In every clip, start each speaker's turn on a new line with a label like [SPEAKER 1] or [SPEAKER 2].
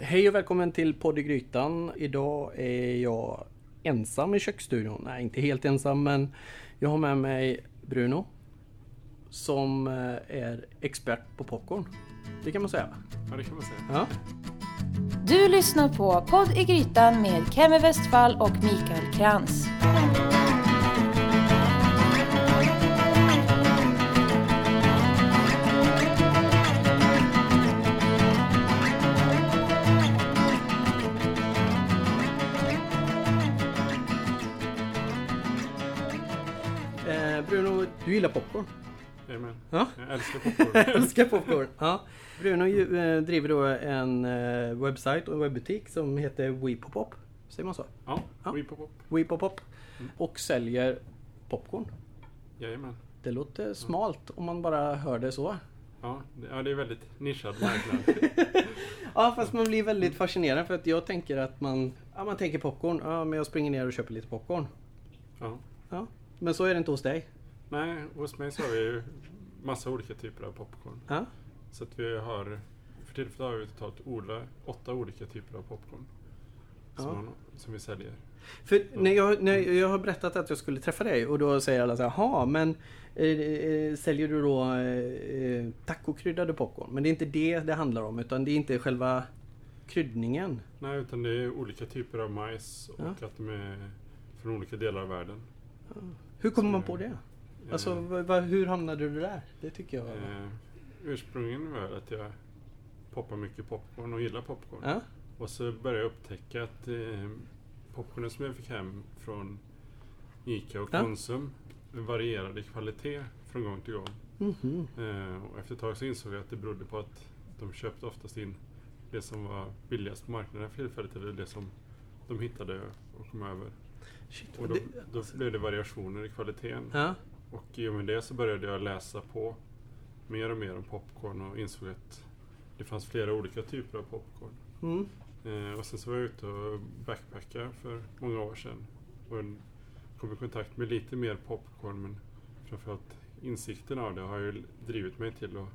[SPEAKER 1] Hej och välkommen till podd i Grytan. Idag är jag ensam i köksstudion. Nej, inte helt ensam, men jag har med mig Bruno. Som eh, är expert på popcorn. Det kan man säga. va?
[SPEAKER 2] Ja, det kan man säga.
[SPEAKER 1] Ja.
[SPEAKER 3] Du lyssnar på Podd i Grytan med Kemi Westfall och Mikael Krantz.
[SPEAKER 1] Eh, Bruno, du gillar popcorn?
[SPEAKER 2] Jajamän.
[SPEAKER 1] Ja.
[SPEAKER 2] Jag älskar popcorn.
[SPEAKER 1] Jag älskar popcorn! Ja. Bruno ju, eh, driver då en eh, webbsajt och en webbutik som heter WePopop. Säger man så?
[SPEAKER 2] Ja,
[SPEAKER 1] Ja.
[SPEAKER 2] Weep Pop Pop.
[SPEAKER 1] WePopop. Och säljer popcorn.
[SPEAKER 2] Jajamän.
[SPEAKER 1] Det låter smalt om man bara hör det så.
[SPEAKER 2] Ja, det, ja, det är väldigt nischad marknad.
[SPEAKER 1] Ja fast man blir väldigt fascinerad för att jag tänker att man, ja, man tänker popcorn, ja men jag springer ner och köper lite popcorn.
[SPEAKER 2] Ja.
[SPEAKER 1] Ja. Men så är det inte hos dig.
[SPEAKER 2] Nej, hos mig så har vi ju massa olika typer av popcorn.
[SPEAKER 1] Ja.
[SPEAKER 2] Så att vi har, för tillfället har vi totalt odla åtta olika typer av popcorn. Som,
[SPEAKER 1] Ja.
[SPEAKER 2] man, som vi säljer.
[SPEAKER 1] För när jag, när jag har berättat att jag skulle träffa dig och då säger alla så här, jaha men eh, eh, säljer du då eh, eh, tacokryddade popcorn? Men det är inte det det handlar om utan det är inte själva kryddningen.
[SPEAKER 2] Nej, utan det är olika typer av majs och att de är från olika delar av världen.
[SPEAKER 1] Hur kommer
[SPEAKER 2] Så-
[SPEAKER 1] man på det? Alltså
[SPEAKER 2] Eh,
[SPEAKER 1] va, va, hur hamnade du där? Det tycker jag.
[SPEAKER 2] eh, ursprungligen var att jag poppar mycket popcorn och gillar popcorn.
[SPEAKER 1] Ja?
[SPEAKER 2] Och så började jag upptäcka att eh, popcornen som jag fick hem från ICA och
[SPEAKER 1] Ja.
[SPEAKER 2] Konsum varierade i kvalitet från gång till gång.
[SPEAKER 1] Mhm.
[SPEAKER 2] Eh, och efter ett tag så insåg jag att det berodde på att de köpte oftast in det som var billigast på marknaden för tillfället eller det som de hittade och kom över.
[SPEAKER 1] Shit,
[SPEAKER 2] Och
[SPEAKER 1] vad
[SPEAKER 2] då,
[SPEAKER 1] det,
[SPEAKER 2] då blev det variationer i kvaliteten.
[SPEAKER 1] ja?
[SPEAKER 2] Och i och med det så började jag läsa på mer och mer om popcorn och insåg att det fanns flera olika typer av popcorn.
[SPEAKER 1] Mm.
[SPEAKER 2] Eh, och sen så var jag ute och backpackade för många år sedan. Och kom i kontakt med lite mer popcorn men framförallt insikten av det har ju drivit mig till att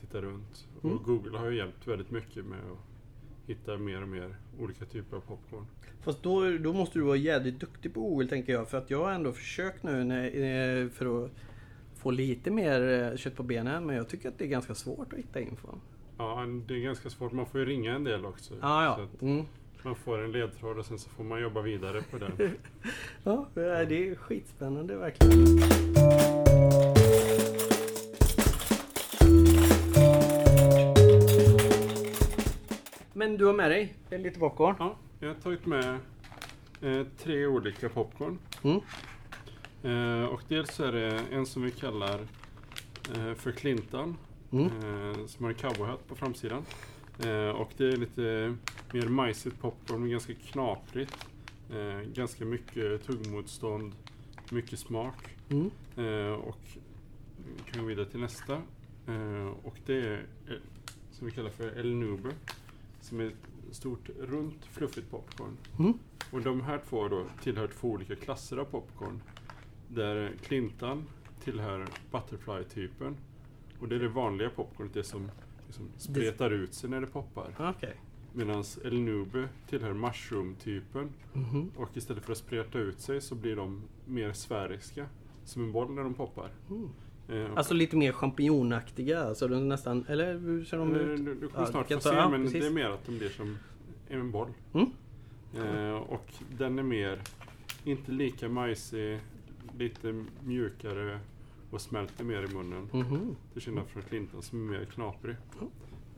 [SPEAKER 2] titta runt.
[SPEAKER 1] Mm.
[SPEAKER 2] Och Google har ju hjälpt väldigt mycket med att hitta mer och mer olika typer av popcorn.
[SPEAKER 1] Fast då, då måste du vara jädrigt duktig på Google tänker jag. För att jag har ändå försökt nu när, eh, för att få lite mer eh, kött på benen. Men jag tycker att det är ganska svårt att hitta infon.
[SPEAKER 2] Ja, det är ganska svårt. Man får ju ringa en del också.
[SPEAKER 1] Ja,
[SPEAKER 2] Så
[SPEAKER 1] ja.
[SPEAKER 2] att
[SPEAKER 1] Mm.
[SPEAKER 2] man får en ledtråd och sen så får man jobba vidare på den.
[SPEAKER 1] ja. eh, Det är skitspännande verkligen. Men du har med dig lite popcorn.
[SPEAKER 2] Ja, jag har tagit med eh, tre olika popcorn.
[SPEAKER 1] Mm.
[SPEAKER 2] Eh, och dels är det en som vi kallar eh, för Clintan.
[SPEAKER 1] Mm.
[SPEAKER 2] Eh, som har en cowboyhatt på framsidan. Eh, och det är lite mer majsigt popcorn, men ganska knaprigt. Eh, ganska mycket tuggmotstånd, mycket smak.
[SPEAKER 1] Mm.
[SPEAKER 2] Eh, och vi kan gå vidare till nästa. Eh, och det är eh, som vi kallar för El Nuber. Som är ett stort, runt, fluffigt popcorn.
[SPEAKER 1] Mm.
[SPEAKER 2] Och de här två då tillhör två olika klasser av popcorn. Där Clintan tillhör Butterfly-typen. Och det är det vanliga popcornet, det som liksom spretar ut sig när det poppar.
[SPEAKER 1] Okej.
[SPEAKER 2] Medan El Nube tillhör Mushroom-typen.
[SPEAKER 1] Mhm.
[SPEAKER 2] Och istället för att spreta ut sig så blir de mer sfäriska. Som en boll när de poppar.
[SPEAKER 1] Mm.
[SPEAKER 2] Eh,
[SPEAKER 1] Alltså lite mer champinjonaktiga. Alltså de är nästan, eller hur ser de
[SPEAKER 2] eh,
[SPEAKER 1] ut?
[SPEAKER 2] du, du
[SPEAKER 1] Ja,
[SPEAKER 2] kommer snart
[SPEAKER 1] kan
[SPEAKER 2] få
[SPEAKER 1] ta-
[SPEAKER 2] se,
[SPEAKER 1] ja,
[SPEAKER 2] men
[SPEAKER 1] precis.
[SPEAKER 2] det är mer att de blir som en boll.
[SPEAKER 1] Mm.
[SPEAKER 2] Eh, och den är mer, inte lika majsig, lite mjukare och smälter mer i munnen.
[SPEAKER 1] Mhm.
[SPEAKER 2] Till skillnad från Clinton som är mer knaprig.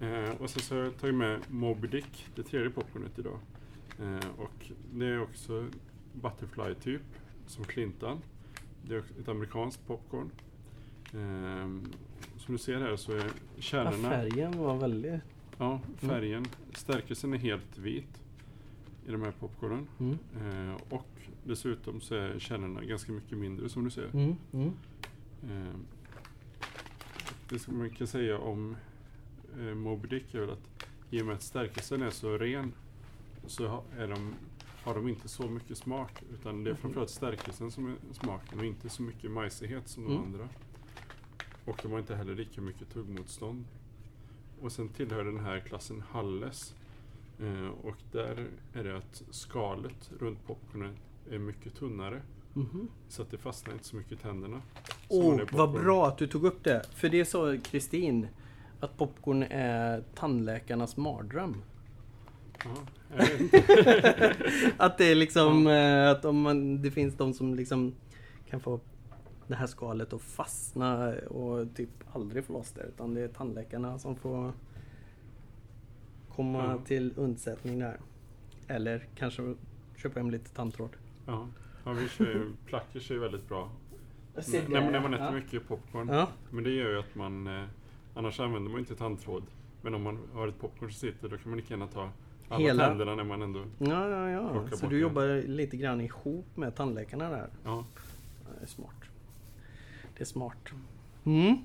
[SPEAKER 2] Eh, och sen så har jag tagit med Moby Dick, det tredje popcornet idag. Eh, och det är också Butterfly-typ, som Clinton. Det är också ett amerikanskt popcorn. Eh, som du ser här så är
[SPEAKER 1] Ja,
[SPEAKER 2] kärnorna,
[SPEAKER 1] färgen var väldigt...
[SPEAKER 2] ja,
[SPEAKER 1] Mm.
[SPEAKER 2] färgen, stärkelsen är helt vit i de här popcornen.
[SPEAKER 1] Mm.
[SPEAKER 2] Eh, och dessutom så är kärnorna ganska mycket mindre som du ser.
[SPEAKER 1] Mm. Mm.
[SPEAKER 2] Eh, Det som man kan säga om eh, Moby Dick är väl att i och med att stärkelsen är så ren så ha- är de, har de inte så mycket smak utan det är framförallt stärkelsen som är smaken och inte så mycket majsighet som de
[SPEAKER 1] Mm.
[SPEAKER 2] andra. Och de har inte heller lika mycket tuggmotstånd. Och sen tillhör den här klassen Halles Eh, och där är det att skalet runt popcornen är mycket tunnare.
[SPEAKER 1] Mhm.
[SPEAKER 2] Så att det fastnar inte så mycket i tänderna. som
[SPEAKER 1] Åh,
[SPEAKER 2] när det är
[SPEAKER 1] vad
[SPEAKER 2] popcorn.
[SPEAKER 1] bra att du tog upp det! För det sa Kristin, att popcorn är tandläkarnas mardröm.
[SPEAKER 2] Ja, jag vet inte.
[SPEAKER 1] Att det är liksom, eh, att om man, det finns de som liksom kan få det här skalet att fastna och typ aldrig få loss det. Utan det är tandläkarna som får komma
[SPEAKER 2] Ja.
[SPEAKER 1] till undsättning där. Eller kanske köpa hem lite tandtråd.
[SPEAKER 2] ja. ja, vi kör ju, plackers är ju väldigt bra. När, när man- när man äter mycket popcorn.
[SPEAKER 1] Ja.
[SPEAKER 2] Men det gör ju att man, eh, annars använder man ju inte tandtråd. Men om man har ett popcorn som sitter då kan man lika gärna ta alla
[SPEAKER 1] Hela.
[SPEAKER 2] tänderna när man ändå...
[SPEAKER 1] Ja, ja, ja.
[SPEAKER 2] Plocka
[SPEAKER 1] Så
[SPEAKER 2] bort
[SPEAKER 1] du
[SPEAKER 2] det.
[SPEAKER 1] jobbar lite grann ihop med tandläkarna där.
[SPEAKER 2] Ja.
[SPEAKER 1] Det är smart. Det är smart. Mm.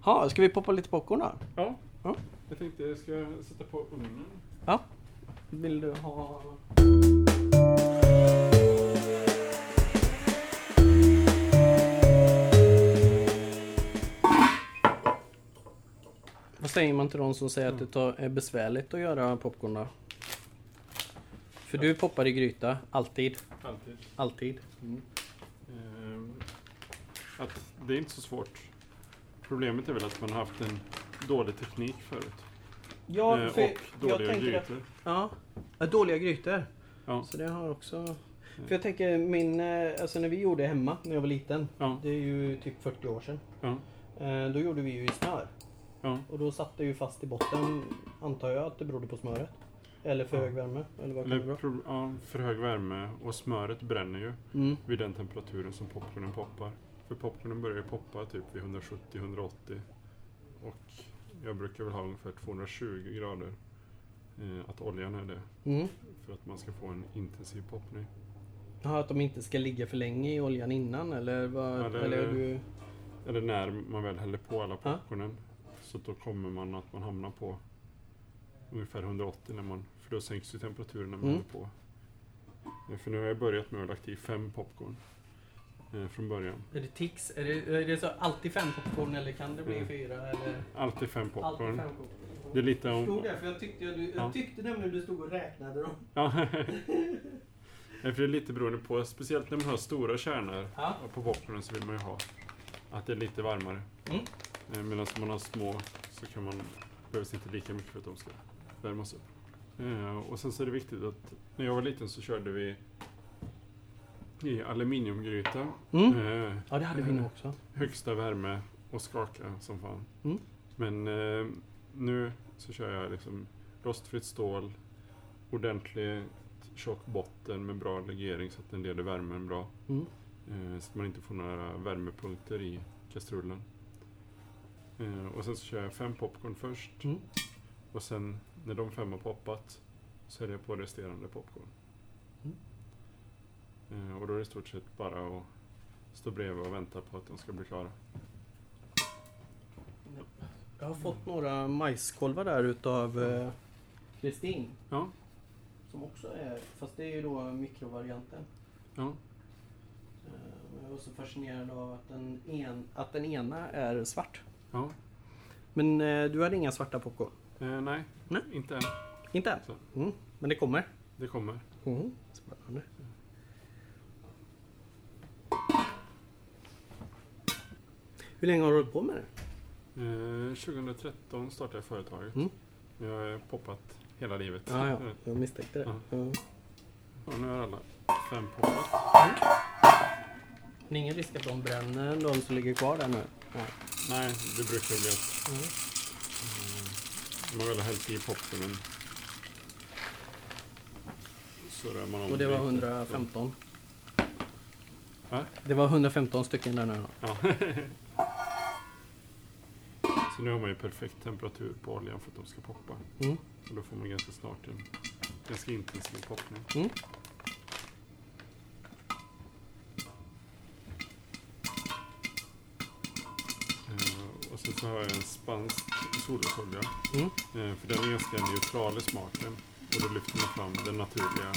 [SPEAKER 1] Ha, ska vi poppa lite popcorn då?
[SPEAKER 2] ja.
[SPEAKER 1] Ja.
[SPEAKER 2] Jag tänkte jag ska sätta på ugnen.
[SPEAKER 1] Ja. Vill du ha... Vad säger man till de som säger att det tar- är besvärligt att göra popcorn då? För du poppar i gryta, alltid.
[SPEAKER 2] Alltid.
[SPEAKER 1] Alltid.
[SPEAKER 2] Ehm, att det är inte så svårt. Problemet är väl att man har haft en dålig teknik förut.
[SPEAKER 1] Ja,
[SPEAKER 2] Eh,
[SPEAKER 1] för
[SPEAKER 2] och dåliga grytor.
[SPEAKER 1] Ja, ja, dåliga grytor.
[SPEAKER 2] Ja.
[SPEAKER 1] Så det har också... För jag tänker min, eh, alltså när vi gjorde hemma när jag var liten.
[SPEAKER 2] Ja.
[SPEAKER 1] Det är ju typ 40 år sedan.
[SPEAKER 2] Ja.
[SPEAKER 1] Eh, Då gjorde vi ju i smör.
[SPEAKER 2] Ja.
[SPEAKER 1] Och då satt det ju fast i botten, antar jag att det berodde på smöret. Eller för hög värme. Eller vad kan det
[SPEAKER 2] Eller,
[SPEAKER 1] vara?
[SPEAKER 2] pro- ja, för hög värme och smöret bränner ju
[SPEAKER 1] Mm.
[SPEAKER 2] vid den temperaturen som popcornen poppar. För popcornen börjar ju poppa typ vid 170-180 och jag brukar väl ha ungefär 220 grader. Eh, att oljan är det
[SPEAKER 1] Mm.
[SPEAKER 2] för att man ska få en intensiv poppning.
[SPEAKER 1] Jaha, att de inte ska ligga för länge i oljan innan eller vad?
[SPEAKER 2] Ja, det-
[SPEAKER 1] eller är du...
[SPEAKER 2] Eller när man väl häller på alla
[SPEAKER 1] Ja.
[SPEAKER 2] popcornen. Så då kommer man att man hamnar på ungefär 180 när man, för då sänks ju temperaturen när man
[SPEAKER 1] Mm.
[SPEAKER 2] häller på. Eh, För nu har jag börjat med att lagt i fem popcorn eh, från början.
[SPEAKER 1] Är det tics? Är det, är det så alltid fem popcorn eller kan det bli
[SPEAKER 2] Mm.
[SPEAKER 1] fyra? Eller
[SPEAKER 2] Alltid fem popcorn.
[SPEAKER 1] alltid fem
[SPEAKER 2] Det är
[SPEAKER 1] popcorn?
[SPEAKER 2] lite
[SPEAKER 1] Jag
[SPEAKER 2] om...
[SPEAKER 1] förstod det, för jag tyckte, jag,
[SPEAKER 2] Ja.
[SPEAKER 1] jag tyckte nämligen du stod och räknade dem.
[SPEAKER 2] Ja. Nej, för det är lite beroende på, speciellt när man har stora kärnor
[SPEAKER 1] Ja.
[SPEAKER 2] på popcornen så vill man ju ha att det är lite varmare.
[SPEAKER 1] Mm.
[SPEAKER 2] Eh, Medan om man har små så kan man, behövs inte lika mycket för att de ska värmas upp. Eh, Och sen så är det viktigt att, när jag var liten så körde vi i aluminiumgryta. Eh,
[SPEAKER 1] Mm. Ja, det hade vi nog också.
[SPEAKER 2] högsta värme och skaka som fan.
[SPEAKER 1] Mm.
[SPEAKER 2] Men eh, nu så kör jag liksom rostfritt stål, ordentlig tjock botten med bra legering så att den leder värmen bra.
[SPEAKER 1] Mm.
[SPEAKER 2] Eh, så att man inte får några värmepunkter i kastrullen. Eh, och sen så kör jag fem popcorn först
[SPEAKER 1] Mm.
[SPEAKER 2] och sen när de fem har poppat så häller jag på resterande popcorn.
[SPEAKER 1] Mm.
[SPEAKER 2] Eh, och då är det i stort sett bara att stå bredvid och vänta på att de ska bli klara.
[SPEAKER 1] Jag har fått några majskolvar där utav eh, Kristin.
[SPEAKER 2] Ja,
[SPEAKER 1] Som också är, fast det är ju då mikrovarianten.
[SPEAKER 2] ja.
[SPEAKER 1] Eh, men Jag var så fascinerad av att den, en, att den ena är svart.
[SPEAKER 2] Ja.
[SPEAKER 1] Men eh, du hade inga svarta popcorn?
[SPEAKER 2] Eh, nej.
[SPEAKER 1] Nej.
[SPEAKER 2] inte än.
[SPEAKER 1] Inte än?
[SPEAKER 2] Så.
[SPEAKER 1] Mm. Men det kommer?
[SPEAKER 2] Det kommer.
[SPEAKER 1] Mm. Spännande. Hur länge har du hållit på med det?
[SPEAKER 2] Eh, 2013 startade jag företaget.
[SPEAKER 1] Mm.
[SPEAKER 2] Jag har poppat hela livet. Eh,
[SPEAKER 1] Jag misstänkte det. Ja.
[SPEAKER 2] Och nu har alla fem poppat.
[SPEAKER 1] Men ingen risk att de bränner, de som ligger kvar där nu? Nej.
[SPEAKER 2] Nej, det brukar bli att
[SPEAKER 1] Mm.
[SPEAKER 2] man väl har hällt i popcornen så rör man om
[SPEAKER 1] Och det var
[SPEAKER 2] lite.
[SPEAKER 1] 115?
[SPEAKER 2] Va?
[SPEAKER 1] Det var 115 stycken där nu då?
[SPEAKER 2] Ja. så nu har man ju perfekt temperatur på oljan för att de ska poppa.
[SPEAKER 1] Mm.
[SPEAKER 2] Och då får man ganska snart en ganska intensiv poppning.
[SPEAKER 1] Mm.
[SPEAKER 2] Eh, Och sen så har jag en spansk solrosolja.
[SPEAKER 1] Mm.
[SPEAKER 2] Eh, För den är ganska neutral i smaken. Och då lyfter man fram den naturliga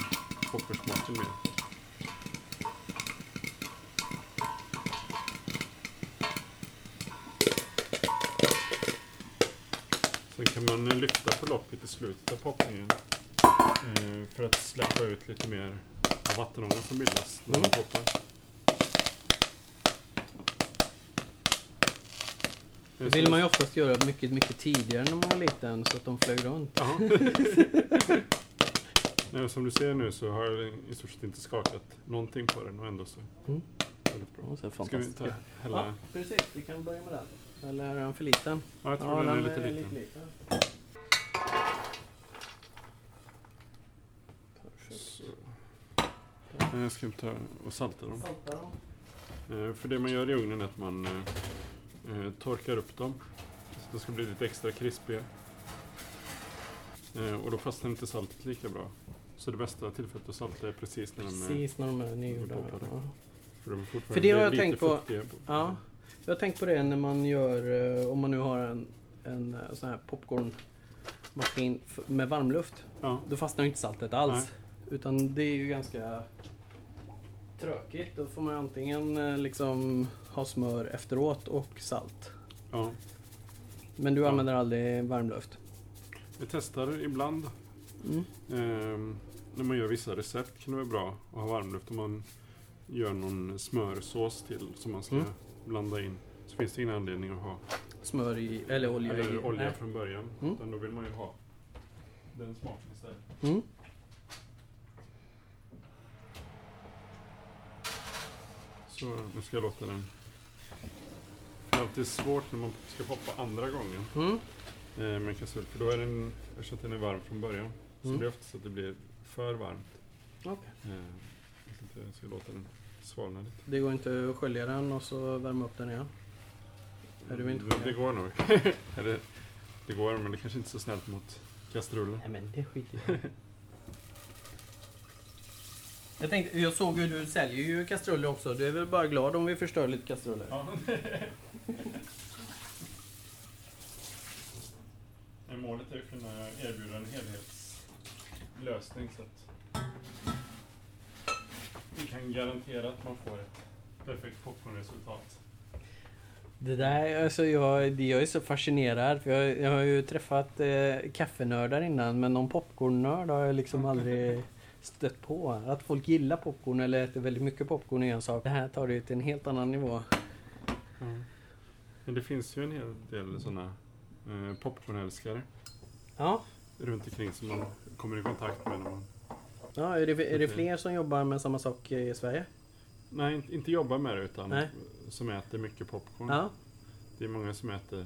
[SPEAKER 2] poppersmaken mer. Sen kan man eh, lyfta på locket i slutet av poppningen. Eh, för att släppa ut lite mer av vattenångan som bildas när
[SPEAKER 1] Mm.
[SPEAKER 2] man poppar.
[SPEAKER 1] Det vill man ju oftast göra mycket, mycket tidigare när man var liten så att de flög runt.
[SPEAKER 2] Ja. Nej, och som du ser nu så har jag i stort sett inte skakat någonting på den och ändå så.
[SPEAKER 1] Mm.
[SPEAKER 2] Väldigt bra.
[SPEAKER 1] Ja, så
[SPEAKER 2] Ska vi ta
[SPEAKER 1] fantastiska. Ja,
[SPEAKER 2] hela?
[SPEAKER 1] precis. Vi kan börja med den. Eller är den för liten?
[SPEAKER 2] Ja, jag tror den är lite liten. Så. Eh, Jag ska ta och salta dem.
[SPEAKER 1] Salta dem.
[SPEAKER 2] Eh, För det man gör i ugnen är att man eh, eh, torkar upp dem. Så de ska bli lite extra krispiga. Eh, och då fastnar inte saltet lika bra. Så det bästa tillfället att salta är precis när de är...
[SPEAKER 1] Precis när de är nygjorda.
[SPEAKER 2] Vi poppar
[SPEAKER 1] Ja.
[SPEAKER 2] dem. För, de är fortfarande
[SPEAKER 1] För det har jag
[SPEAKER 2] lite
[SPEAKER 1] tänkt på-
[SPEAKER 2] fuktiga på-
[SPEAKER 1] Ja, jag har tänkt på det när man gör, eh, om man nu har en, en eh, sån här popcornmaskin f- med varmluft.
[SPEAKER 2] Ja.
[SPEAKER 1] Då fastnar ju inte saltet alls. Utan det är ju ganska tråkigt. Då får man ju antingen eh, liksom ha smör efteråt och salt.
[SPEAKER 2] ja.
[SPEAKER 1] Men du
[SPEAKER 2] Ja.
[SPEAKER 1] använder aldrig varmluft?
[SPEAKER 2] Jag testar ibland.
[SPEAKER 1] Mm.
[SPEAKER 2] Ehm, när man gör vissa recept kan det vara bra att ha varmluft. Om man gör någon smörsås till som man ska
[SPEAKER 1] Mm.
[SPEAKER 2] blanda in. Så finns det ingen anledning att ha
[SPEAKER 1] Smör i, eller olja i?
[SPEAKER 2] Eller olja
[SPEAKER 1] Nej.
[SPEAKER 2] från början.
[SPEAKER 1] Mm.
[SPEAKER 2] Utan då vill man ju ha den smaken istället.
[SPEAKER 1] Mm.
[SPEAKER 2] Så nu ska jag låta den. Det är alltid svårt när man ska poppa andra gången
[SPEAKER 1] Mm.
[SPEAKER 2] eh, med kastrull. För då är den, eftersom att den är varm från början, så
[SPEAKER 1] Mm.
[SPEAKER 2] det är ofta så att det blir för varmt.
[SPEAKER 1] Okej.
[SPEAKER 2] Eh, jag vet inte, jag ska låta den svalna lite.
[SPEAKER 1] Det går inte att skölja den och så värma upp den igen? Är du inte
[SPEAKER 2] det,
[SPEAKER 1] skön?
[SPEAKER 2] det går nog. Eller, det går, men det kanske inte är så snällt mot kastrullen.
[SPEAKER 1] Nej men det skiter jag i. Jag tänkte, jag såg ju du säljer ju kastruller också. Du är väl bara glad om vi förstör lite kastruller?
[SPEAKER 2] Ja. Nej, Målet är att kunna erbjuda en helhetslösning så att vi kan garantera att man får ett perfekt popcornresultat.
[SPEAKER 1] Det där, alltså jag, det- jag är så fascinerad. För jag, jag har ju träffat eh, kaffenördar innan men någon popcornnörd har jag liksom aldrig stött på. Att folk gillar popcorn eller äter väldigt mycket popcorn är en sak. Det här tar det ju till en helt annan nivå.
[SPEAKER 2] Men det finns ju en hel del sådana eh, popcornälskare
[SPEAKER 1] Ja,
[SPEAKER 2] runt omkring som man kommer i kontakt med. När man,
[SPEAKER 1] ja är, det, är det
[SPEAKER 2] Okej.
[SPEAKER 1] fler som jobbar med samma sak i Sverige?
[SPEAKER 2] nej, inte- inte jobbar med det utan
[SPEAKER 1] Nej.
[SPEAKER 2] som äter mycket popcorn.
[SPEAKER 1] Ja.
[SPEAKER 2] Det är många som äter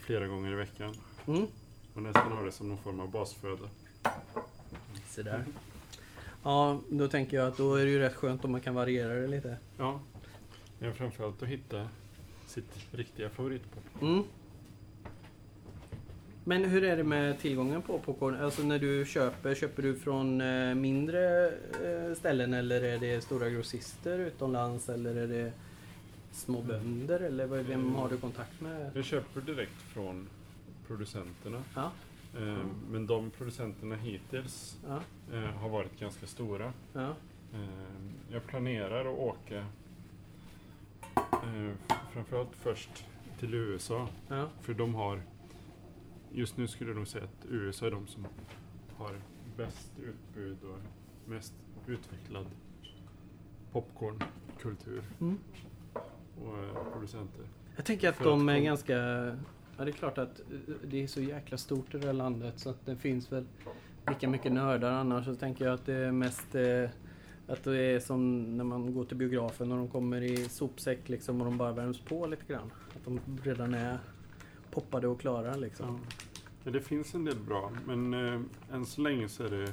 [SPEAKER 2] flera gånger i veckan.
[SPEAKER 1] Mm.
[SPEAKER 2] Och nästan har det som någon form av basföda.
[SPEAKER 1] Så där. Mm. Ja, då tänker jag att då är det ju rätt skönt om man kan variera det lite.
[SPEAKER 2] Ja. Men framförallt att hitta sitt riktiga favoritpopcorn.
[SPEAKER 1] Mm. Men hur är det med tillgången på popcorn? Alltså när du köper, köper du från eh, mindre eh, ställen eller är det stora grossister utomlands eller är det små bönder eller vad- vem har du kontakt med?
[SPEAKER 2] Jag köper direkt från producenterna.
[SPEAKER 1] Ja,
[SPEAKER 2] Eh, men de producenterna hittills
[SPEAKER 1] ja,
[SPEAKER 2] eh, har varit ganska stora.
[SPEAKER 1] ja.
[SPEAKER 2] Eh, jag planerar att åka eh, f- framförallt först till USA.
[SPEAKER 1] ja.
[SPEAKER 2] För de har, just nu skulle jag nog säga att USA är de som har bäst utbud och mest utvecklad popcornkultur
[SPEAKER 1] Mm.
[SPEAKER 2] och eh, producenter.
[SPEAKER 1] Jag tänker att
[SPEAKER 2] För
[SPEAKER 1] de
[SPEAKER 2] att
[SPEAKER 1] är
[SPEAKER 2] kom-
[SPEAKER 1] ganska... Ja, det är klart att eh, det är så jäkla stort i det här landet så att det finns väl lika mycket nördar annars. Så tänker jag att det är mest... Eh, att det är som när man går till biografen och de kommer i sopsäck liksom och de bara värms på lite grann. Att de redan är poppade och klara liksom.
[SPEAKER 2] Ja. Ja, det finns en del bra, men eh, än så länge så är det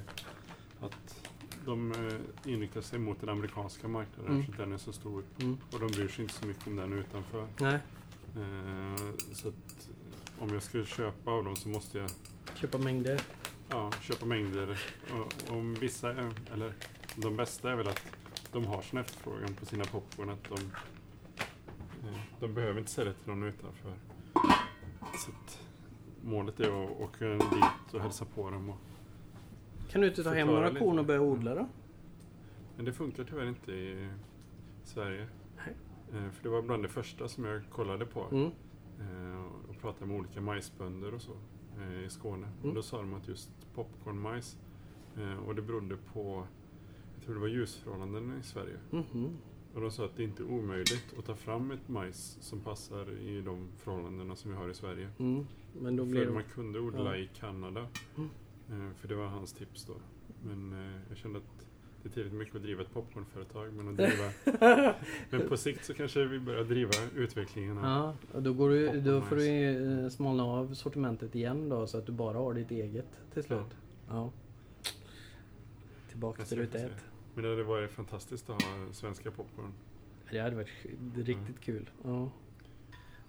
[SPEAKER 2] att de eh, inriktar sig mot den amerikanska marknaden,
[SPEAKER 1] Mm.
[SPEAKER 2] för den är så stor.
[SPEAKER 1] Mm.
[SPEAKER 2] Och de bryr sig inte så mycket om den utanför.
[SPEAKER 1] Nej,
[SPEAKER 2] Eh, så att om jag skulle köpa av dem så måste jag
[SPEAKER 1] köpa mängder.
[SPEAKER 2] Ja, köpa mängder. Och, och vissa, är- eller de bästa är väl att de har sån efterfrågan på sina popcorn att de, eh, de behöver inte sälja till någon utanför. Så att målet är att åka dit och hälsa på dem. Och,
[SPEAKER 1] Kan du inte ta hem
[SPEAKER 2] Förklara
[SPEAKER 1] några
[SPEAKER 2] lite.
[SPEAKER 1] korn och börja odla då?
[SPEAKER 2] men det funkar tyvärr inte i Sverige.
[SPEAKER 1] Nej.
[SPEAKER 2] Eh, För det var bland det första som jag kollade på.
[SPEAKER 1] Mm.
[SPEAKER 2] Eh, och pratade med olika majsbönder och så eh, i Skåne.
[SPEAKER 1] Mm.
[SPEAKER 2] Och då sa de att just popcornmajs Eh, och det berodde på, jag tror det var ljusförhållanden i Sverige.
[SPEAKER 1] Mhm.
[SPEAKER 2] Och de sa att det inte är omöjligt att ta fram ett majs som passar i de förhållandena som vi har i Sverige.
[SPEAKER 1] Mm. Men då
[SPEAKER 2] För
[SPEAKER 1] blev
[SPEAKER 2] man kunde odla
[SPEAKER 1] Ja. Mm.
[SPEAKER 2] i Kanada. Eh, För det var hans tips då. Men eh, jag kände att det är tillräckligt mycket att driva ett popcornföretag. Men, att driva, men på sikt så kanske vi börjar driva utvecklingen av
[SPEAKER 1] Ja, och då, går du,
[SPEAKER 2] Popcorn
[SPEAKER 1] då får du
[SPEAKER 2] majs.
[SPEAKER 1] ju eh, smalna av sortimentet igen då så att du bara har ditt eget till slut. Ja. Tillbaka
[SPEAKER 2] Jag
[SPEAKER 1] till
[SPEAKER 2] ser,
[SPEAKER 1] ruta
[SPEAKER 2] jag ser.
[SPEAKER 1] ett.
[SPEAKER 2] Men det hade varit fantastiskt att ha svenska popcorn.
[SPEAKER 1] Det hade varit sk- riktigt
[SPEAKER 2] Mm.
[SPEAKER 1] kul. Ja.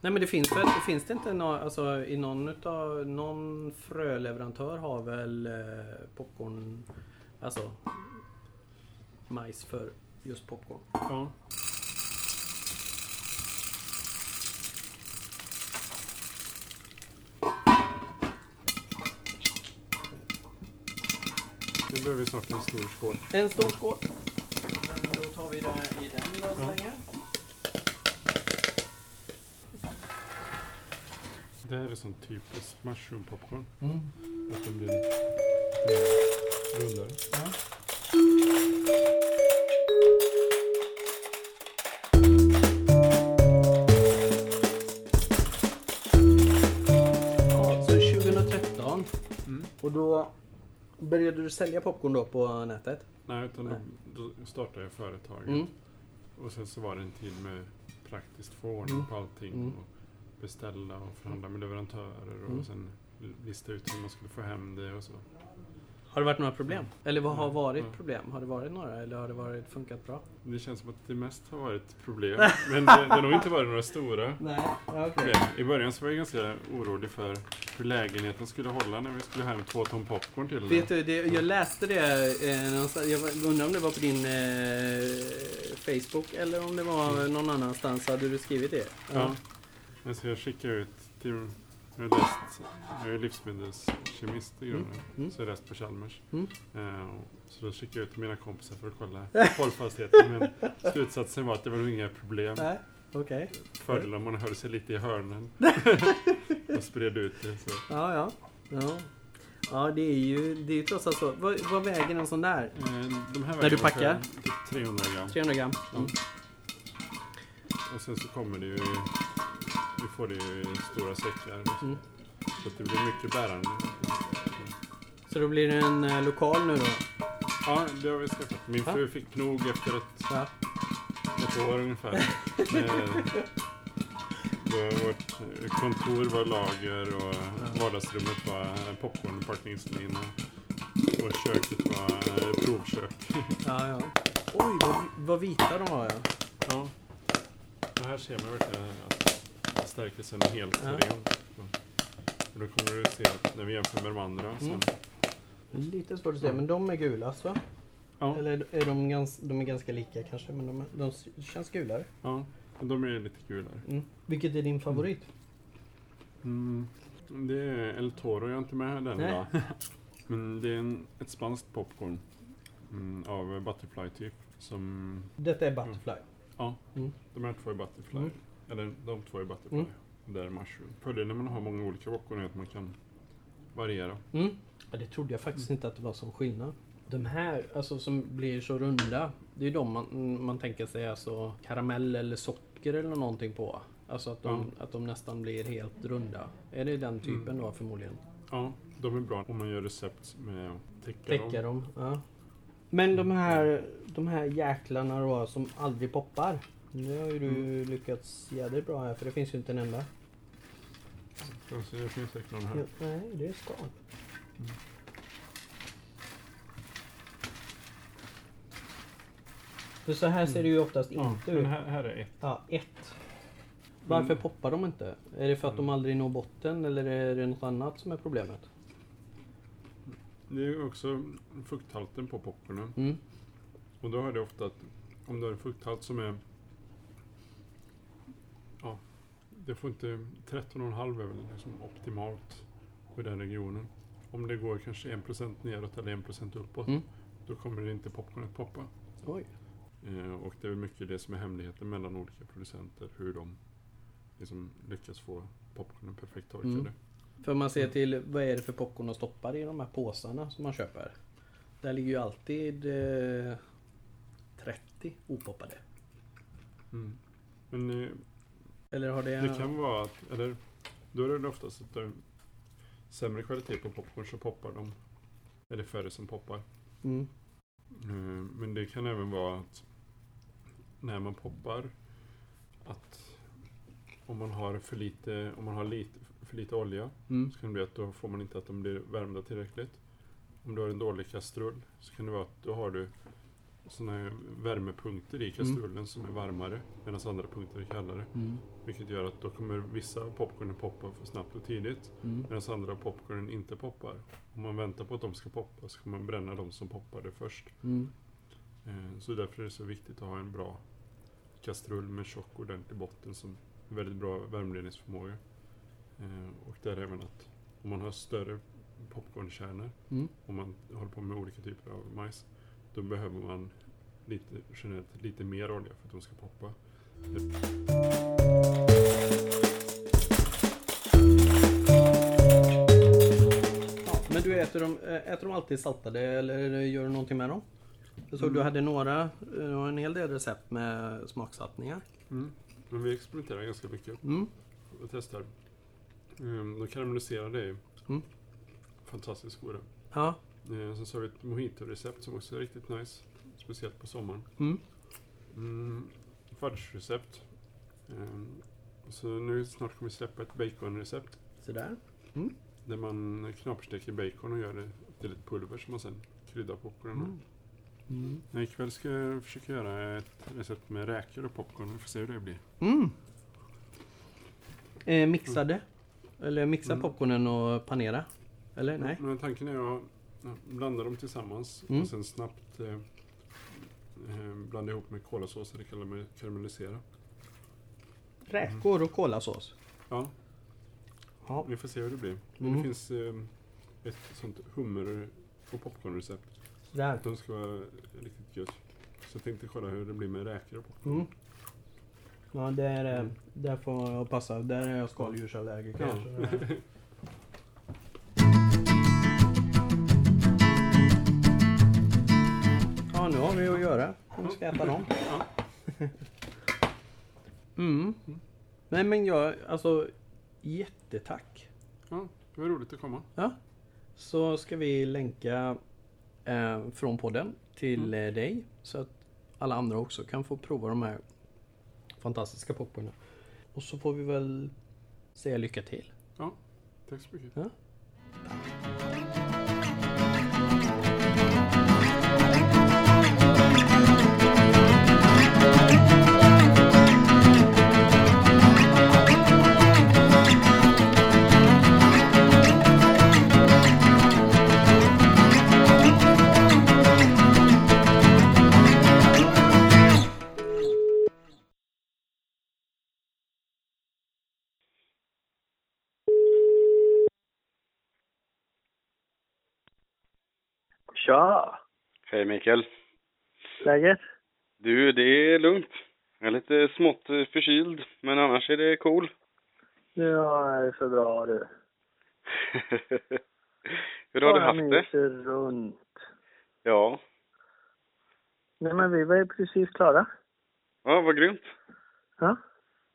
[SPEAKER 1] Nej men det finns väl, finns det inte någon, alltså i någon utav, någon fröleverantör har väl eh, popcorn, alltså majs för just popcorn.
[SPEAKER 2] Ja. Nu behöver vi snart en stor skål.
[SPEAKER 1] En stor skål. Då tar vi det här i den lilla strängen.
[SPEAKER 2] Det här är sån typisk mushroom popcorn.
[SPEAKER 1] Mm.
[SPEAKER 2] Att de blir eh, rundare.
[SPEAKER 1] Ja, så 2013.
[SPEAKER 2] Mm.
[SPEAKER 1] Och då började du sälja popcorn då på nätet?
[SPEAKER 2] Nej, utan då,
[SPEAKER 1] Nej.
[SPEAKER 2] då startade jag företaget.
[SPEAKER 1] Mm.
[SPEAKER 2] Och sen så var det en tid med praktiskt få ordning
[SPEAKER 1] Mm.
[SPEAKER 2] på allting.
[SPEAKER 1] Mm.
[SPEAKER 2] Och beställa och förhandla med leverantörer och
[SPEAKER 1] Mm.
[SPEAKER 2] sen lista ut hur man skulle få hem det och så.
[SPEAKER 1] Har det varit några problem? Eller vad har
[SPEAKER 2] Mm.
[SPEAKER 1] varit
[SPEAKER 2] Mm.
[SPEAKER 1] problem? Har det varit några eller har det varit funkat bra?
[SPEAKER 2] Det känns som att det mest har varit problem. Men det, det har nog inte varit några stora
[SPEAKER 1] Nej, okej.
[SPEAKER 2] problem. I början så var jag ganska orolig för hur lägenheten skulle hålla när vi skulle hem två ton popcorn till
[SPEAKER 1] Vet
[SPEAKER 2] den.
[SPEAKER 1] du, det, jag läste det eh, någonstans. Jag var- undrar om det var på din eh, Facebook eller om det var någon annanstans. Hade du skrivit det?
[SPEAKER 2] Ja. Men så jag skickade ut till... Jag har läst... Jag är livsmedelskemist i grunden.
[SPEAKER 1] mm.
[SPEAKER 2] Så jag har läst på Chalmers.
[SPEAKER 1] Mm.
[SPEAKER 2] Eh, och så då skickade jag ut till mina kompisar för att kolla hållfastheten. Men slutsatsen var att det var nog inga problem.
[SPEAKER 1] Nej, okej.
[SPEAKER 2] Fördelen om man höll sig lite i hörnen. och spred ut det. Så.
[SPEAKER 1] Ja, ja. Ja, ja det är ju det är ju trots allt så. Vad, vad väger en sån där?
[SPEAKER 2] Eh, De
[SPEAKER 1] När
[SPEAKER 2] här
[SPEAKER 1] du
[SPEAKER 2] väger
[SPEAKER 1] packar?
[SPEAKER 2] ungefär typ 300 gram.
[SPEAKER 1] 300 gram? Mm.
[SPEAKER 2] Och sen så kommer det ju... Vi får det ju i stora säckar.
[SPEAKER 1] Mm.
[SPEAKER 2] Så att det blir mycket bärande.
[SPEAKER 1] Så då blir det en eh, lokal nu då?
[SPEAKER 2] Ja, det har vi skaffat. Min
[SPEAKER 1] Ja.
[SPEAKER 2] fru fick nog efter ett,
[SPEAKER 1] Ja.
[SPEAKER 2] ett år ungefär. Eh, då vårt eh, kontor var lager och vardagsrummet var eh, popcornpackningslina. Och köket var eh, provkök.
[SPEAKER 1] Ja, ja. Oj, vad, vad vita de var ja.
[SPEAKER 2] Ja. Det här ser man verkligen att stärkelsen är helt
[SPEAKER 1] Ja.
[SPEAKER 2] ren. Och då kommer du se att när vi jämför med de andra sen.
[SPEAKER 1] Mm. Lite svårt att se, men de är gulast va?
[SPEAKER 2] Ja,
[SPEAKER 1] Eller är de, gans, de är ganska lika kanske, men de, är- de s- känns gulare.
[SPEAKER 2] ja. Men de är lite gulare.
[SPEAKER 1] Mm. Vilket är din favorit?
[SPEAKER 2] Mm. Det är El Toro, jag är inte med den
[SPEAKER 1] Nej.
[SPEAKER 2] idag. Men det är en, ett spanskt popcorn mm, av Butterfly-typ. Som,
[SPEAKER 1] Detta är Butterfly.
[SPEAKER 2] de här två är Butterfly.
[SPEAKER 1] Mm.
[SPEAKER 2] Eller de två är Butterfly.
[SPEAKER 1] Mm.
[SPEAKER 2] Det där är Mushroom. Fördelen när man har många olika popcorn är att man kan variera.
[SPEAKER 1] Mm. Ja, det trodde jag faktiskt inte att det var som skillnad. De här alltså, som blir så runda, det är ju de man, man tänker sig alltså, karamell eller socker eller någonting på. Alltså att de,
[SPEAKER 2] Mm.
[SPEAKER 1] att de nästan blir helt runda. Är det den typen då förmodligen?
[SPEAKER 2] Ja, de är bra om man gör recept med att täcka,
[SPEAKER 1] Täcka
[SPEAKER 2] dem.
[SPEAKER 1] dem. Ja. Men de här, de här jäklarna då som aldrig poppar. Det har ju du
[SPEAKER 2] Mm.
[SPEAKER 1] lyckats jädrigt bra här för det finns ju inte en enda.
[SPEAKER 2] Ja, så Det finns säkert någon här.
[SPEAKER 1] Ja, nej, det är skal.
[SPEAKER 2] Mm.
[SPEAKER 1] För så här ser det ju oftast
[SPEAKER 2] Mm. Ja,
[SPEAKER 1] inte
[SPEAKER 2] men
[SPEAKER 1] ut.
[SPEAKER 2] här, Mm. här är ett.
[SPEAKER 1] Ja, ett. Varför poppar de inte? Är det för att de
[SPEAKER 2] Mm.
[SPEAKER 1] aldrig når botten eller är det något annat som är problemet?
[SPEAKER 2] Det är också fukthalten på popcornen.
[SPEAKER 1] Mm.
[SPEAKER 2] Och då är det ofta att om du har en fukthalt som är... Ja, det får inte... 13,5 är väl liksom optimalt i den regionen. Om det går kanske 1% neråt eller 1% uppåt,
[SPEAKER 1] Mm.
[SPEAKER 2] då kommer det inte popcornet poppa.
[SPEAKER 1] Oj.
[SPEAKER 2] Eh, och det är väl mycket det som är hemligheten mellan olika producenter, hur de liksom lyckas få popcornen perfekt torkade.
[SPEAKER 1] Mm. För om man ser till vad är det för popcorn de stoppar i de här påsarna som man köper. Där ligger ju alltid eh, 30 opoppade.
[SPEAKER 2] Mm. Men eh,
[SPEAKER 1] Eller har det...
[SPEAKER 2] det kan vara att, eller då är det oftast att det är sämre kvalitet på popcorn så poppar de. Eller färre som poppar.
[SPEAKER 1] Mm.
[SPEAKER 2] Eh, Men det kan även vara att när man poppar att om man har för lite, om man har lite, för lite olja
[SPEAKER 1] Mm.
[SPEAKER 2] så kan det bli att då får man inte att de blir värmda tillräckligt. Om du har en dålig kastrull så kan det vara att då har du sådana värmepunkter i kastrullen som är varmare medan andra punkter är kallare.
[SPEAKER 1] Mm.
[SPEAKER 2] Vilket gör att då kommer vissa popcornen poppa för snabbt och tidigt
[SPEAKER 1] Mm.
[SPEAKER 2] medan andra popcornen inte poppar. Om man väntar på att de ska poppa så kommer man bränna de som poppade först.
[SPEAKER 1] Mm.
[SPEAKER 2] Eh, Så därför är det så viktigt att ha en bra kastrull med tjock ordentlig botten som har väldigt bra värmeledningsförmåga. Eh, Och där även att om man har större popcornkärnor,
[SPEAKER 1] Mm.
[SPEAKER 2] om man håller på med olika typer av majs, då behöver man lite, generellt lite mer olja för att de ska poppa.
[SPEAKER 1] Ja, men du äter dem, eh, äter dem alltid saltade eller gör du någonting med dem? Jag såg du hade några, eh, du har en hel del recept med smaksattningar.
[SPEAKER 2] Men vi experimenterar ganska mycket
[SPEAKER 1] Mm.
[SPEAKER 2] och testar. Eh, De karamelliserade är ju
[SPEAKER 1] Mm.
[SPEAKER 2] fantastiskt goda.
[SPEAKER 1] Ja.
[SPEAKER 2] Eh, Sen så har vi ett mojito-recept som också är riktigt nice, speciellt på sommaren.
[SPEAKER 1] Mm.
[SPEAKER 2] Mm, fudge-recept. Ehm, så nu snart kommer vi släppa ett baconrecept
[SPEAKER 1] Sådär.
[SPEAKER 2] där man knapersteker bacon och gör det till ett pulver som man sen kryddar popcornen med.
[SPEAKER 1] Mm. Mm.
[SPEAKER 2] Nej, Ikväll ska jag försöka göra ett recept med räkor och popcorn. Vi får se hur det blir.
[SPEAKER 1] Mm. Eh, mixade? Eller mixa
[SPEAKER 2] Mm.
[SPEAKER 1] popcornen och panera? Eller nej?
[SPEAKER 2] Men tanken är att ja, blanda dem tillsammans
[SPEAKER 1] Mm.
[SPEAKER 2] och sen snabbt eh, eh, blanda ihop med kolasås eller karamell- karamellisera.
[SPEAKER 1] Räkor och kolasås.
[SPEAKER 2] Ja,
[SPEAKER 1] Ja.
[SPEAKER 2] vi får se hur det blir. Men
[SPEAKER 1] Mm.
[SPEAKER 2] Det finns eh, ett sånt hummer och popcornrecept.
[SPEAKER 1] Där.
[SPEAKER 2] De ska vara riktigt gött. Så jag tänkte kolla hur det blir med räkor och popcorn.
[SPEAKER 1] Mm. Ja, där, eh,
[SPEAKER 2] Mm.
[SPEAKER 1] där får jag passa. Där är jag skaldjursallergiker.
[SPEAKER 2] Ja.
[SPEAKER 1] så det- Ja, nu har vi att göra om vi ska äta dem.
[SPEAKER 2] Ja.
[SPEAKER 1] Mm. Nej men jag, alltså jättetack.
[SPEAKER 2] Ja, det var roligt att komma.
[SPEAKER 1] Ja. Så ska vi länka eh, från podden till eh, dig så att alla andra också kan få prova de här fantastiska popcornen. Och så får vi väl säga lycka till.
[SPEAKER 2] Ja, tack så mycket.
[SPEAKER 1] Ja.
[SPEAKER 4] Tja!
[SPEAKER 5] Hej Mikael.
[SPEAKER 4] Läget?
[SPEAKER 5] Du, det är lugnt. Jag är lite smått eh, förkyld, men annars är det cool.
[SPEAKER 4] Ja, det är så bra du.
[SPEAKER 5] Hur har du
[SPEAKER 4] Bara
[SPEAKER 5] haft det?
[SPEAKER 4] myser runt.
[SPEAKER 5] Ja.
[SPEAKER 4] Nej men vi var ju precis klara.
[SPEAKER 5] ja, vad grymt.
[SPEAKER 4] Ja.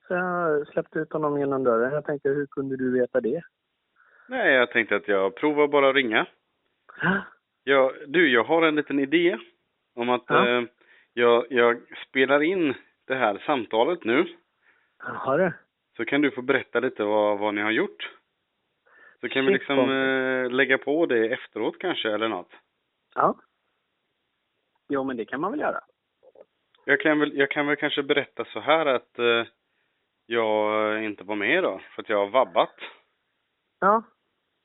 [SPEAKER 4] Så jag släppte ut honom genom dörren. Jag tänkte, hur kunde du veta det?
[SPEAKER 5] Nej, jag tänkte att jag provar bara att ringa.
[SPEAKER 4] Ja.
[SPEAKER 5] Ja, du, jag har en liten idé om att
[SPEAKER 4] Ja.
[SPEAKER 5] eh, jag, jag spelar in det här samtalet nu.
[SPEAKER 4] Jaha du.
[SPEAKER 5] Så kan du få berätta lite vad, vad ni har gjort. Så kan vi
[SPEAKER 4] Shit,
[SPEAKER 5] liksom
[SPEAKER 4] vad-
[SPEAKER 5] eh, lägga på det efteråt kanske, eller något.
[SPEAKER 4] Ja. Jo men det kan man väl göra.
[SPEAKER 5] Jag kan väl, jag kan väl kanske berätta så här att eh, jag inte var med idag för att jag har vabbat.
[SPEAKER 4] Ja.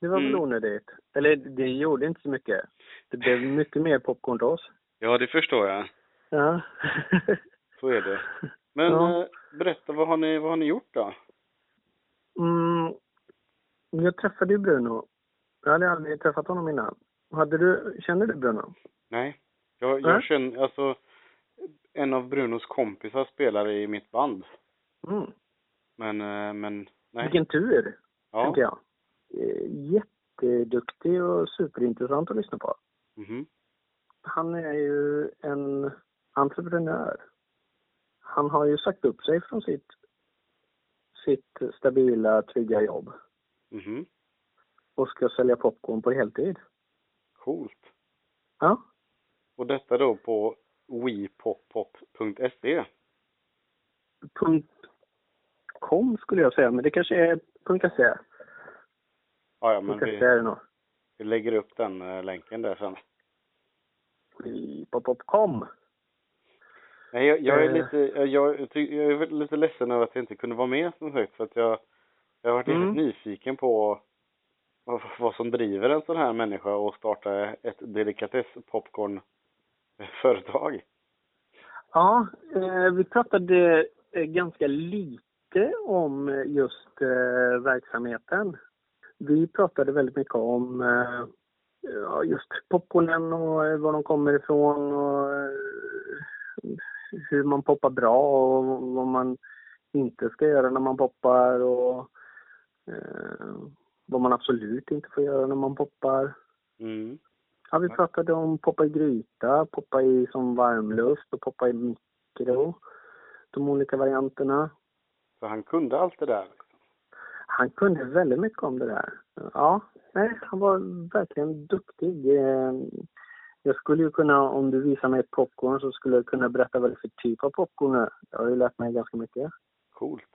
[SPEAKER 4] Det var väl
[SPEAKER 5] Mm.
[SPEAKER 4] onödigt. Eller det gjorde inte så mycket. Det blev mycket mer popcorn till oss.
[SPEAKER 5] Ja, det förstår jag.
[SPEAKER 4] Ja.
[SPEAKER 5] Så är det. Men
[SPEAKER 4] Ja.
[SPEAKER 5] eh, berätta, vad har ni, vad har ni gjort då?
[SPEAKER 4] Mm, jag träffade ju Bruno. Jag hade aldrig träffat honom innan. Hade du, känner du Bruno?
[SPEAKER 5] Nej, jag,
[SPEAKER 4] Nej.
[SPEAKER 5] jag känner, alltså en av Brunos kompisar spelar i mitt band.
[SPEAKER 4] Mm.
[SPEAKER 5] Men, eh, men nej.
[SPEAKER 4] Vilken tur,
[SPEAKER 5] ja.
[SPEAKER 4] tänker jag. Eh, Jätteduktig och superintressant att lyssna på.
[SPEAKER 5] Mhm.
[SPEAKER 4] entreprenör. Han har ju sagt upp sig från sitt, sitt stabila, trygga jobb
[SPEAKER 5] Mhm.
[SPEAKER 4] och ska sälja popcorn på heltid.
[SPEAKER 5] Coolt.
[SPEAKER 4] Ja,
[SPEAKER 5] Och detta då på wepoppop.se.
[SPEAKER 4] .com skulle jag säga, men det kanske är .se.
[SPEAKER 5] Ja, ja, men
[SPEAKER 4] .se
[SPEAKER 5] vi,
[SPEAKER 4] är det nog.
[SPEAKER 5] vi lägger upp den eh, länken där sen.
[SPEAKER 4] Pop.com.
[SPEAKER 5] Nej, jag, jag, är
[SPEAKER 4] Eh.
[SPEAKER 5] lite, jag, jag, ty- jag är väl lite ledsen över att jag inte kunde vara med som sagt. För att jag, jag har varit
[SPEAKER 4] Mm.
[SPEAKER 5] lite nyfiken på vad, vad som driver en sån här människa och starta ett delikatess-popcorn-företag.
[SPEAKER 4] Ja, eh, vi pratade eh, ganska lite om eh, just eh, verksamheten. Vi pratade väldigt mycket om eh, ja, just popcornen och eh, var de kommer ifrån och eh, hur man poppar bra och vad man inte ska göra när man poppar och eh, vad man absolut inte får göra när man poppar.
[SPEAKER 5] Mm.
[SPEAKER 4] Ja, vi pratade om poppa i gryta, poppa i som varmluft och poppa i mikro. De olika varianterna.
[SPEAKER 5] Så han kunde allt det där. Liksom.
[SPEAKER 4] Han kunde väldigt mycket om det där. Ja, nej, han var verkligen duktig. Eh, Jag skulle ju kunna, om du visar mig ett popcorn så skulle jag kunna berätta vad det är för typ av popcorn är. Jag har ju lärt mig ganska mycket.
[SPEAKER 5] Coolt.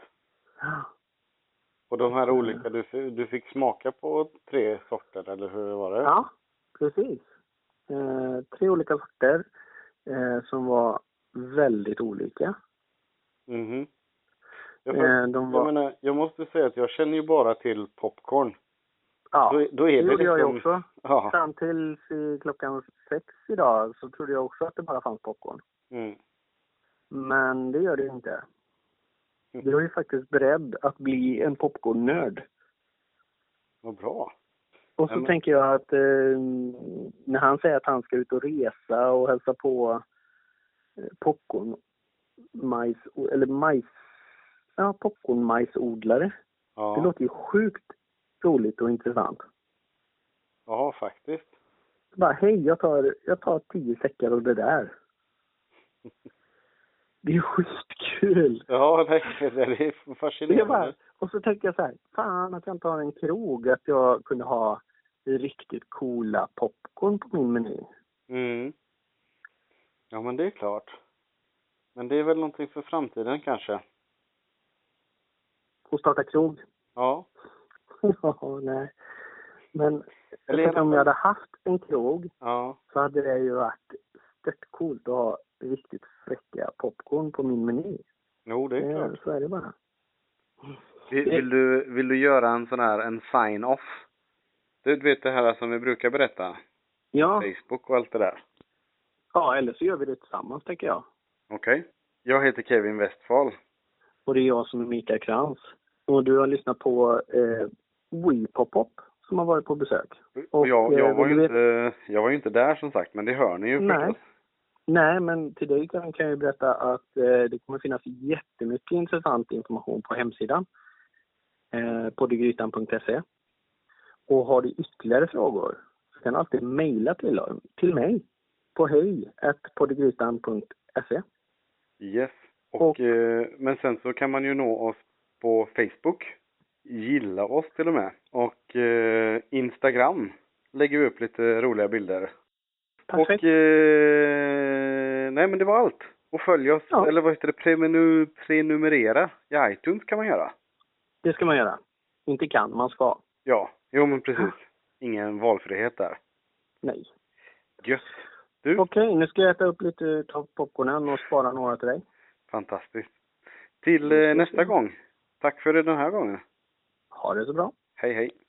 [SPEAKER 5] Och de
[SPEAKER 4] Mm.
[SPEAKER 5] här olika, du, fi- du fick smaka på tre sorter eller hur var det?
[SPEAKER 4] Ja, precis. Eh, tre olika sorter eh, som var väldigt olika.
[SPEAKER 5] Mhm. Jag, får,
[SPEAKER 4] Eh, de
[SPEAKER 5] jag
[SPEAKER 4] var,
[SPEAKER 5] menar, jag måste säga att jag känner ju bara till popcorn.
[SPEAKER 4] ja,
[SPEAKER 5] Då, då
[SPEAKER 4] det
[SPEAKER 5] är det
[SPEAKER 4] gjorde jag ju
[SPEAKER 5] liksom...
[SPEAKER 4] också.
[SPEAKER 5] Ja.
[SPEAKER 4] Fram till eh, klockan sex idag så trodde jag också att det bara fanns popcorn.
[SPEAKER 5] Mm.
[SPEAKER 4] Men det gör det ju inte.
[SPEAKER 5] Mm.
[SPEAKER 4] Jag är faktiskt beredd att bli en popcornnörd.
[SPEAKER 5] Vad bra.
[SPEAKER 4] Och så
[SPEAKER 5] Ja, men-
[SPEAKER 4] tänker jag att eh, när han säger att han ska ut och resa och hälsa på eh, popcorn, majs, eller majs, ja, popcornmajsodlare.
[SPEAKER 5] Ja.
[SPEAKER 4] Det låter ju sjukt roligt och intressant.
[SPEAKER 5] Ja, faktiskt.
[SPEAKER 4] Så bara, hej, jag tar, jag tar tio säckar och det där. Det är skitkul!
[SPEAKER 5] Ja, nej, det är
[SPEAKER 4] Det är bara,
[SPEAKER 5] fascinerande.
[SPEAKER 4] och så tänker jag så här, fan att jag inte har en krog, att jag kunde ha riktigt coola popcorn på min meny.
[SPEAKER 5] Mm. Ja, men det är klart. Men det är väl någonting för framtiden kanske.
[SPEAKER 4] Och starta krog.
[SPEAKER 5] Ja.
[SPEAKER 4] Ja, nej. Men jag
[SPEAKER 5] Eller i
[SPEAKER 4] tänker
[SPEAKER 5] alla
[SPEAKER 4] om jag
[SPEAKER 5] fall-
[SPEAKER 4] hade haft en krog
[SPEAKER 5] Ja.
[SPEAKER 4] så hade det ju varit stört coolt att ha riktigt fräcka popcorn på min meny.
[SPEAKER 5] Jo, det är klart.
[SPEAKER 4] Eh, Så är det bara.
[SPEAKER 5] Vill, vill, du, vill du göra en sån här, en sign-off? Du vet det här som vi brukar berätta?
[SPEAKER 4] Ja,
[SPEAKER 5] Facebook och allt det där.
[SPEAKER 4] ja, eller så gör vi det tillsammans tänker jag.
[SPEAKER 5] Okej. Jag heter Kevin Westfall.
[SPEAKER 4] Och det är jag som är Mikael Krantz. Och du har lyssnat på eh, WePopop som har varit på besök.
[SPEAKER 5] Och Mm, jag, jag,
[SPEAKER 4] eh,
[SPEAKER 5] var
[SPEAKER 4] du
[SPEAKER 5] ju
[SPEAKER 4] vet-
[SPEAKER 5] inte, jag var ju inte där som sagt, men det hör ni ju
[SPEAKER 4] Nej.
[SPEAKER 5] förstås.
[SPEAKER 4] Nej, men till dig kan kan jag ju berätta att eh, det kommer finnas jättemycket intressant information på hemsidan. Eh, poddegrytan.se. Och har du ytterligare frågor så kan du alltid mejla till, till mig på hej
[SPEAKER 5] Yes. Och,
[SPEAKER 4] Och-
[SPEAKER 5] eh, men sen så kan man ju nå oss på Facebook. Gilla oss till och med. Och eh, Instagram lägger vi upp lite roliga bilder.
[SPEAKER 4] Perfekt.
[SPEAKER 5] Och eh, nej men det var allt. Och följ oss,
[SPEAKER 4] Ja.
[SPEAKER 5] eller vad heter det, Premenu, prenumerera i iTunes kan man göra.
[SPEAKER 4] Det ska man göra. Inte kan, man ska.
[SPEAKER 5] Ja, jo men precis. Ingen valfrihet där.
[SPEAKER 4] Nej.
[SPEAKER 5] Gött. Du,
[SPEAKER 4] Okej, nu ska jag äta upp lite av popcornen och spara några till dig.
[SPEAKER 5] fantastiskt. Till eh, nästa gång. Tack för den här gången.
[SPEAKER 4] Ha det så bra.
[SPEAKER 5] Hej hej.